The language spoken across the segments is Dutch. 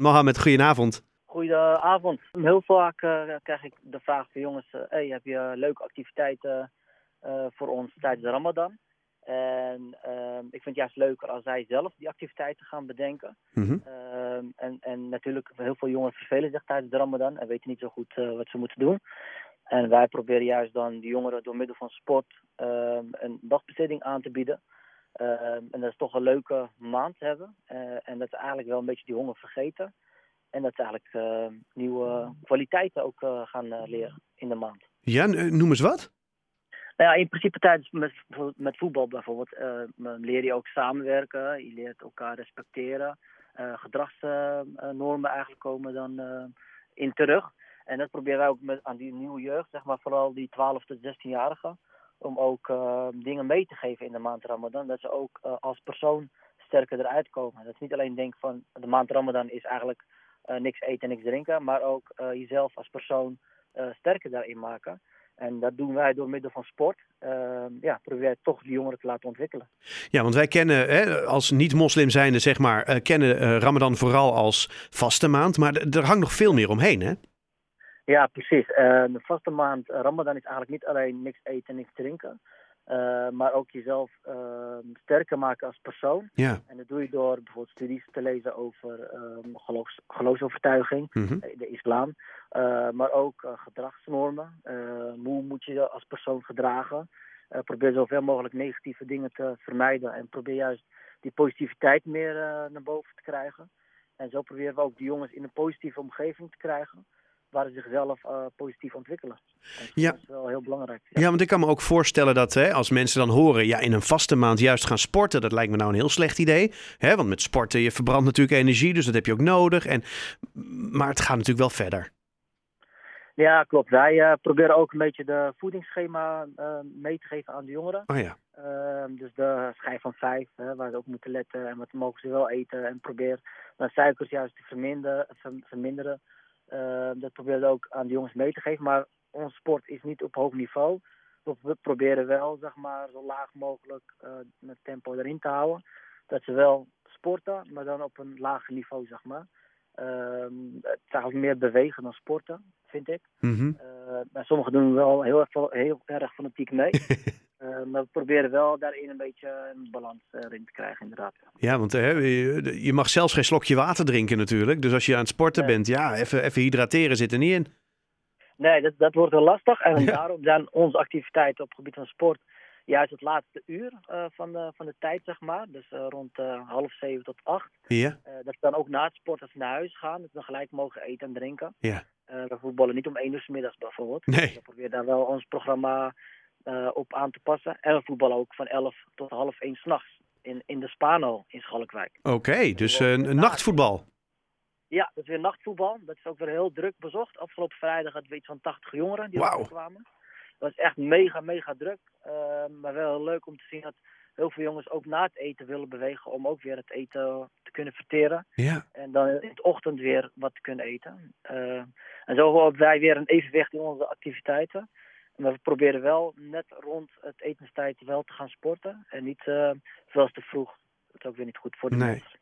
Mohamed, goedenavond. Goedenavond. Heel vaak eh, krijg ik de vraag van jongens, eh, hey, heb je leuke activiteiten eh, voor ons tijdens de Ramadan? En ehm, ik vind het juist leuker als zij zelf die activiteiten gaan bedenken. Mhm. Ehm, en, en natuurlijk, heel veel jongeren vervelen zich tijdens de Ramadan en weten niet zo goed eh, wat ze moeten doen. En wij proberen juist dan die jongeren door middel van sport ehm, een dagbesteding aan te bieden. Ehm, en dat is toch een leuke maand hebben. Eh, en dat ze eigenlijk wel een beetje die honger vergeten. En dat ze eigenlijk ehm, nieuwe kwaliteiten ook eh, gaan eh, leren in de maand. Ja, n- eh, noem eens wat. Nou ja, in principe tijdens met, met voetbal bijvoorbeeld eh, leer je ook samenwerken, je leert elkaar respecteren. Eh, gedragsnormen eigenlijk komen dan eh, in terug. En dat proberen wij ook met, aan die nieuwe jeugd, zeg maar vooral die 12 tot 16-jarigen, om ook eh, dingen mee te geven in de maand Ramadan. Dat ze ook eh, als persoon sterker eruit komen. Dat ze niet alleen denken van de maand Ramadan is eigenlijk eh, niks eten en niks drinken, maar ook eh, jezelf als persoon eh, sterker daarin maken. En dat doen wij door middel van sport. Ehm, ja, proberen toch de jongeren te laten ontwikkelen. Ja, want wij kennen, hè, als niet-moslim zijnde, zeg maar, eh, kennen eh, Ramadan vooral als vaste maand. Maar d- er hangt nog veel meer omheen, hè? Ja, precies. Eh, de vaste maand eh, Ramadan is eigenlijk niet alleen niks eten, niks drinken. eh, maar ook jezelf ehm, sterker maken als persoon. Ja. En dat doe je door bijvoorbeeld studies te lezen over ehm geloofs, geloofsovertuiging. Mhm. de islam. Eh, maar ook eh, gedragsnormen. Eh, hoe moet je je als persoon gedragen? Eh, probeer zoveel mogelijk negatieve dingen te vermijden. En probeer juist die positiviteit meer eh, naar boven te krijgen. En zo proberen we ook de jongens in een positieve omgeving te krijgen. Waar ze zichzelf eh, positief ontwikkelen. En Ja. Dat is wel heel belangrijk. Ja, want ik kan me ook voorstellen dat hè, als mensen dan horen, ja, in een vaste maand juist gaan sporten, dat lijkt me nou een heel slecht idee. Hè, want met sporten, je verbrandt natuurlijk energie, dus dat heb je ook nodig. En, maar het gaat natuurlijk wel verder. Ja, klopt. Wij eh, proberen ook een beetje de voedingsschema eh, mee te geven aan de jongeren. Oh ja. Ehm, dus de schijf van vijf, hè, waar ze op moeten letten en wat mogen ze wel eten. En probeer dan suikers juist te verminderen. ver- verminderen. Ehm, dat proberen we ook aan de jongens mee te geven. Maar ons sport is niet op hoog niveau. Dus we proberen wel zeg maar, zo laag mogelijk eh, het tempo erin te houden. Dat ze wel sporten, maar dan op een lager niveau, zeg maar. Ehm, het is eigenlijk meer bewegen dan sporten, vind ik. Mhm. Eh, maar sommigen doen wel heel erg, heel erg fanatiek mee. Eh, maar we proberen wel daarin een beetje een balans eh, erin te krijgen, inderdaad. Ja, want hè, je je mag zelfs geen slokje water drinken natuurlijk. Dus als je aan het sporten Nee. bent, ja, even, even hydrateren zit er niet in. Nee, dat, dat wordt wel lastig. En Ja. daarom zijn onze activiteiten op het gebied van sport juist het laatste uur eh, van, de, van de tijd, zeg maar. Dus eh, rond eh, half zeven tot acht. Ja, Eh, dat ze dan ook na het sport als ze naar huis gaan, dat ze dan gelijk mogen eten en drinken. ja. Eh, we voetballen niet om één uur 's middags bijvoorbeeld. Nee. We proberen daar wel ons programma eh, op aan te passen. En we voetballen ook van 11 tot half 1 s'nachts in, in de Spano in Schalkwijk. Oké, dus eh, een nachtvoetbal. Ja, dat is weer nachtvoetbal. Dat is ook weer heel druk bezocht. Afgelopen vrijdag hadden we iets van 80 jongeren die Wauw. wow. kwamen. Dat was echt mega, mega druk. Eh, maar wel heel leuk om te zien dat heel veel jongens ook na het eten willen bewegen om ook weer het eten te kunnen verteren. Ja. En dan in de ochtend weer wat te kunnen eten. Eh, en zo houden wij weer een evenwicht in onze activiteiten. Maar we proberen wel net rond het etenstijd wel te gaan sporten. En niet eh zoals te vroeg. Dat is ook weer niet goed voor de Nee. mensen.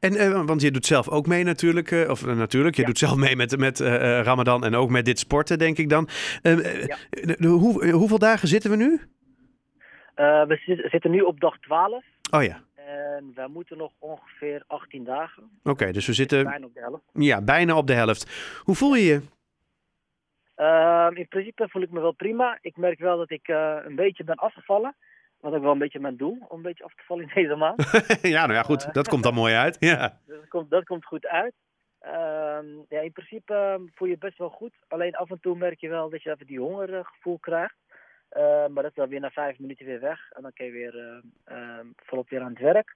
En, eh, want je doet zelf ook mee natuurlijk. eh, of eh, natuurlijk, je Ja. doet zelf mee met, met eh, eh, Ramadan en ook met dit sporten, denk ik dan. Eh, eh, Ja. de- de- hoe, eh, hoeveel dagen zitten we nu? Eh, we zit- zitten nu op dag 12. Oh ja, En wij moeten nog ongeveer 18 dagen, oké. dus we zitten bijna op de helft. ja, bijna op de helft. Hoe voel je je? Ehm, in principe voel ik me wel prima. Ik merk wel dat ik eh, een beetje ben afgevallen. Wat ook wel een beetje mijn doel, om een beetje af te vallen in deze maand. ja, nou ja, goed. Eh. Dat komt dan mooi uit. Ja. Dus dat komt, dat komt goed uit. Ehm, ja, in principe ehm, voel je het best wel goed. Alleen af en toe merk je wel dat je even die hongergevoel krijgt. Ehm, maar dat is dan weer na vijf minuten weer weg. En dan kan je weer ehm, ehm, volop weer aan het werk.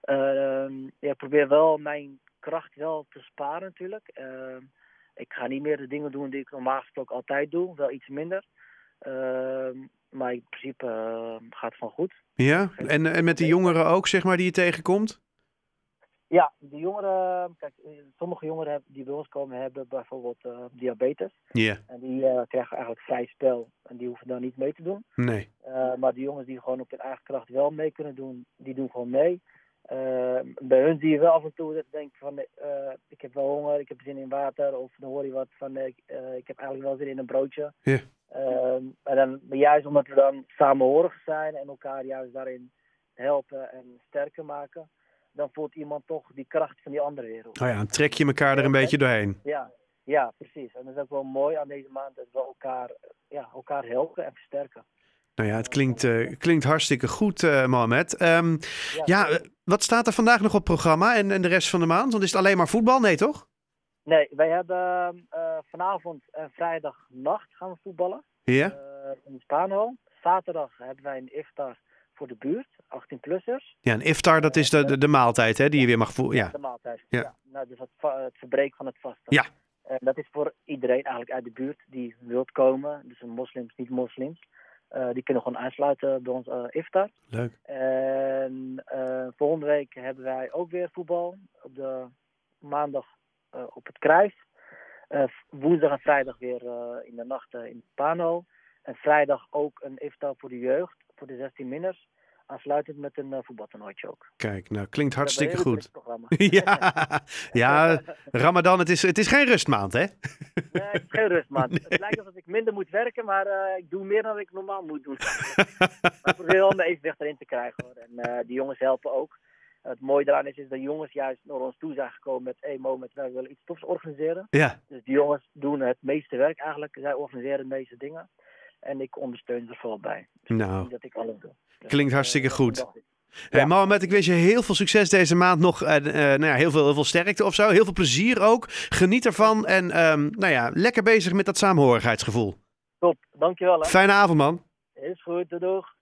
Ehm, ja, ik probeer wel mijn kracht wel te sparen natuurlijk. Ehm, ik ga niet meer de dingen doen die ik normaal gesproken altijd doe. Wel iets minder. Ehm, maar in principe ehm, gaat het van goed. ja. En, en met de jongeren ook, zeg maar, die je tegenkomt? Ja, de jongeren, kijk, eh, sommige jongeren heb- die bij ons komen hebben bijvoorbeeld eh, diabetes. Ja, En die eh, krijgen eigenlijk vrij spel en die hoeven dan niet mee te doen. nee. Eh, maar de jongens die gewoon op hun eigen kracht wel mee kunnen doen, die doen gewoon mee. Eh, Eh, bij hun zie je wel af en toe dat ik denk van eh, ik heb wel honger, ik heb zin in water. Of dan hoor je wat van eh, ik- eh, ik heb eigenlijk wel zin in een broodje. Ja. Ehm, en dan, maar juist omdat we dan samenhorig zijn en elkaar juist daarin helpen en sterker maken. Dan voelt iemand toch die kracht van die andere wereld. Nou ja, dan trek je elkaar er een beetje doorheen. Ja, ja, precies. En dat is ook wel mooi aan deze maand dat we elkaar, ja, elkaar helpen en versterken. Nou ja, het klinkt, eh, klinkt hartstikke goed, eh, Mohamed. Ehm, Ja. ja, eh, wat staat er vandaag nog op programma en, en de rest van de maand? Want is het alleen maar voetbal? Nee, toch? Nee, wij hebben eh, vanavond en vrijdagnacht gaan we voetballen Ja. eh, in de Spaanhal. Zaterdag hebben wij een iftar voor de buurt, 18-plussers. Ja, een iftar, dat is de, de, de maaltijd hè, die je weer mag voelen. Ja. De maaltijd. Ja. nou, dus het, va- het verbreek van het vasten. Ja. En dat is voor iedereen eigenlijk uit de buurt die wilt komen. Dus moslims, niet-moslims. Eh, die kunnen gewoon aansluiten bij ons eh, iftar. Leuk. En eh, volgende week hebben wij ook weer voetbal. Op de maandag eh, op het Kruis. Eh, woensdag en vrijdag weer eh, in de nacht eh, in Pano. En vrijdag ook een iftar voor de jeugd, voor de 16 minners. Aansluitend met een eh, voetbaltoernooitje ook. We Kijk, nou klinkt hebben een hartstikke heel goed. druk programma. ja, ja, Ramadan, het is, het is geen rustmaand, hè? Nee, het is geen rust, man. Het lijkt alsof ik minder moet werken, maar eh, ik doe meer dan ik normaal moet doen. maar ik probeer wel mijn evenwicht erin te krijgen, hoor. En eh, die jongens helpen ook. Het mooie eraan is, is dat jongens juist naar ons toe zijn gekomen met... Hey, Mo, met wij willen iets tofs organiseren. Ja, Dus die jongens doen het meeste werk eigenlijk. Zij organiseren de meeste dingen. En ik ondersteun er vooral bij. nou, Dat ik alles doe. Dus, Klinkt hartstikke eh, goed. dat is- Hey Ja. Mohamed, ik wens je heel veel succes deze maand nog. En, eh, nou ja, heel, veel, heel veel sterkte of zo. Heel veel plezier ook. Geniet ervan. En ehm, nou ja, lekker bezig met dat saamhorigheidsgevoel. Top, dankjewel hè. Fijne avond, man. Is goed, doei doeg.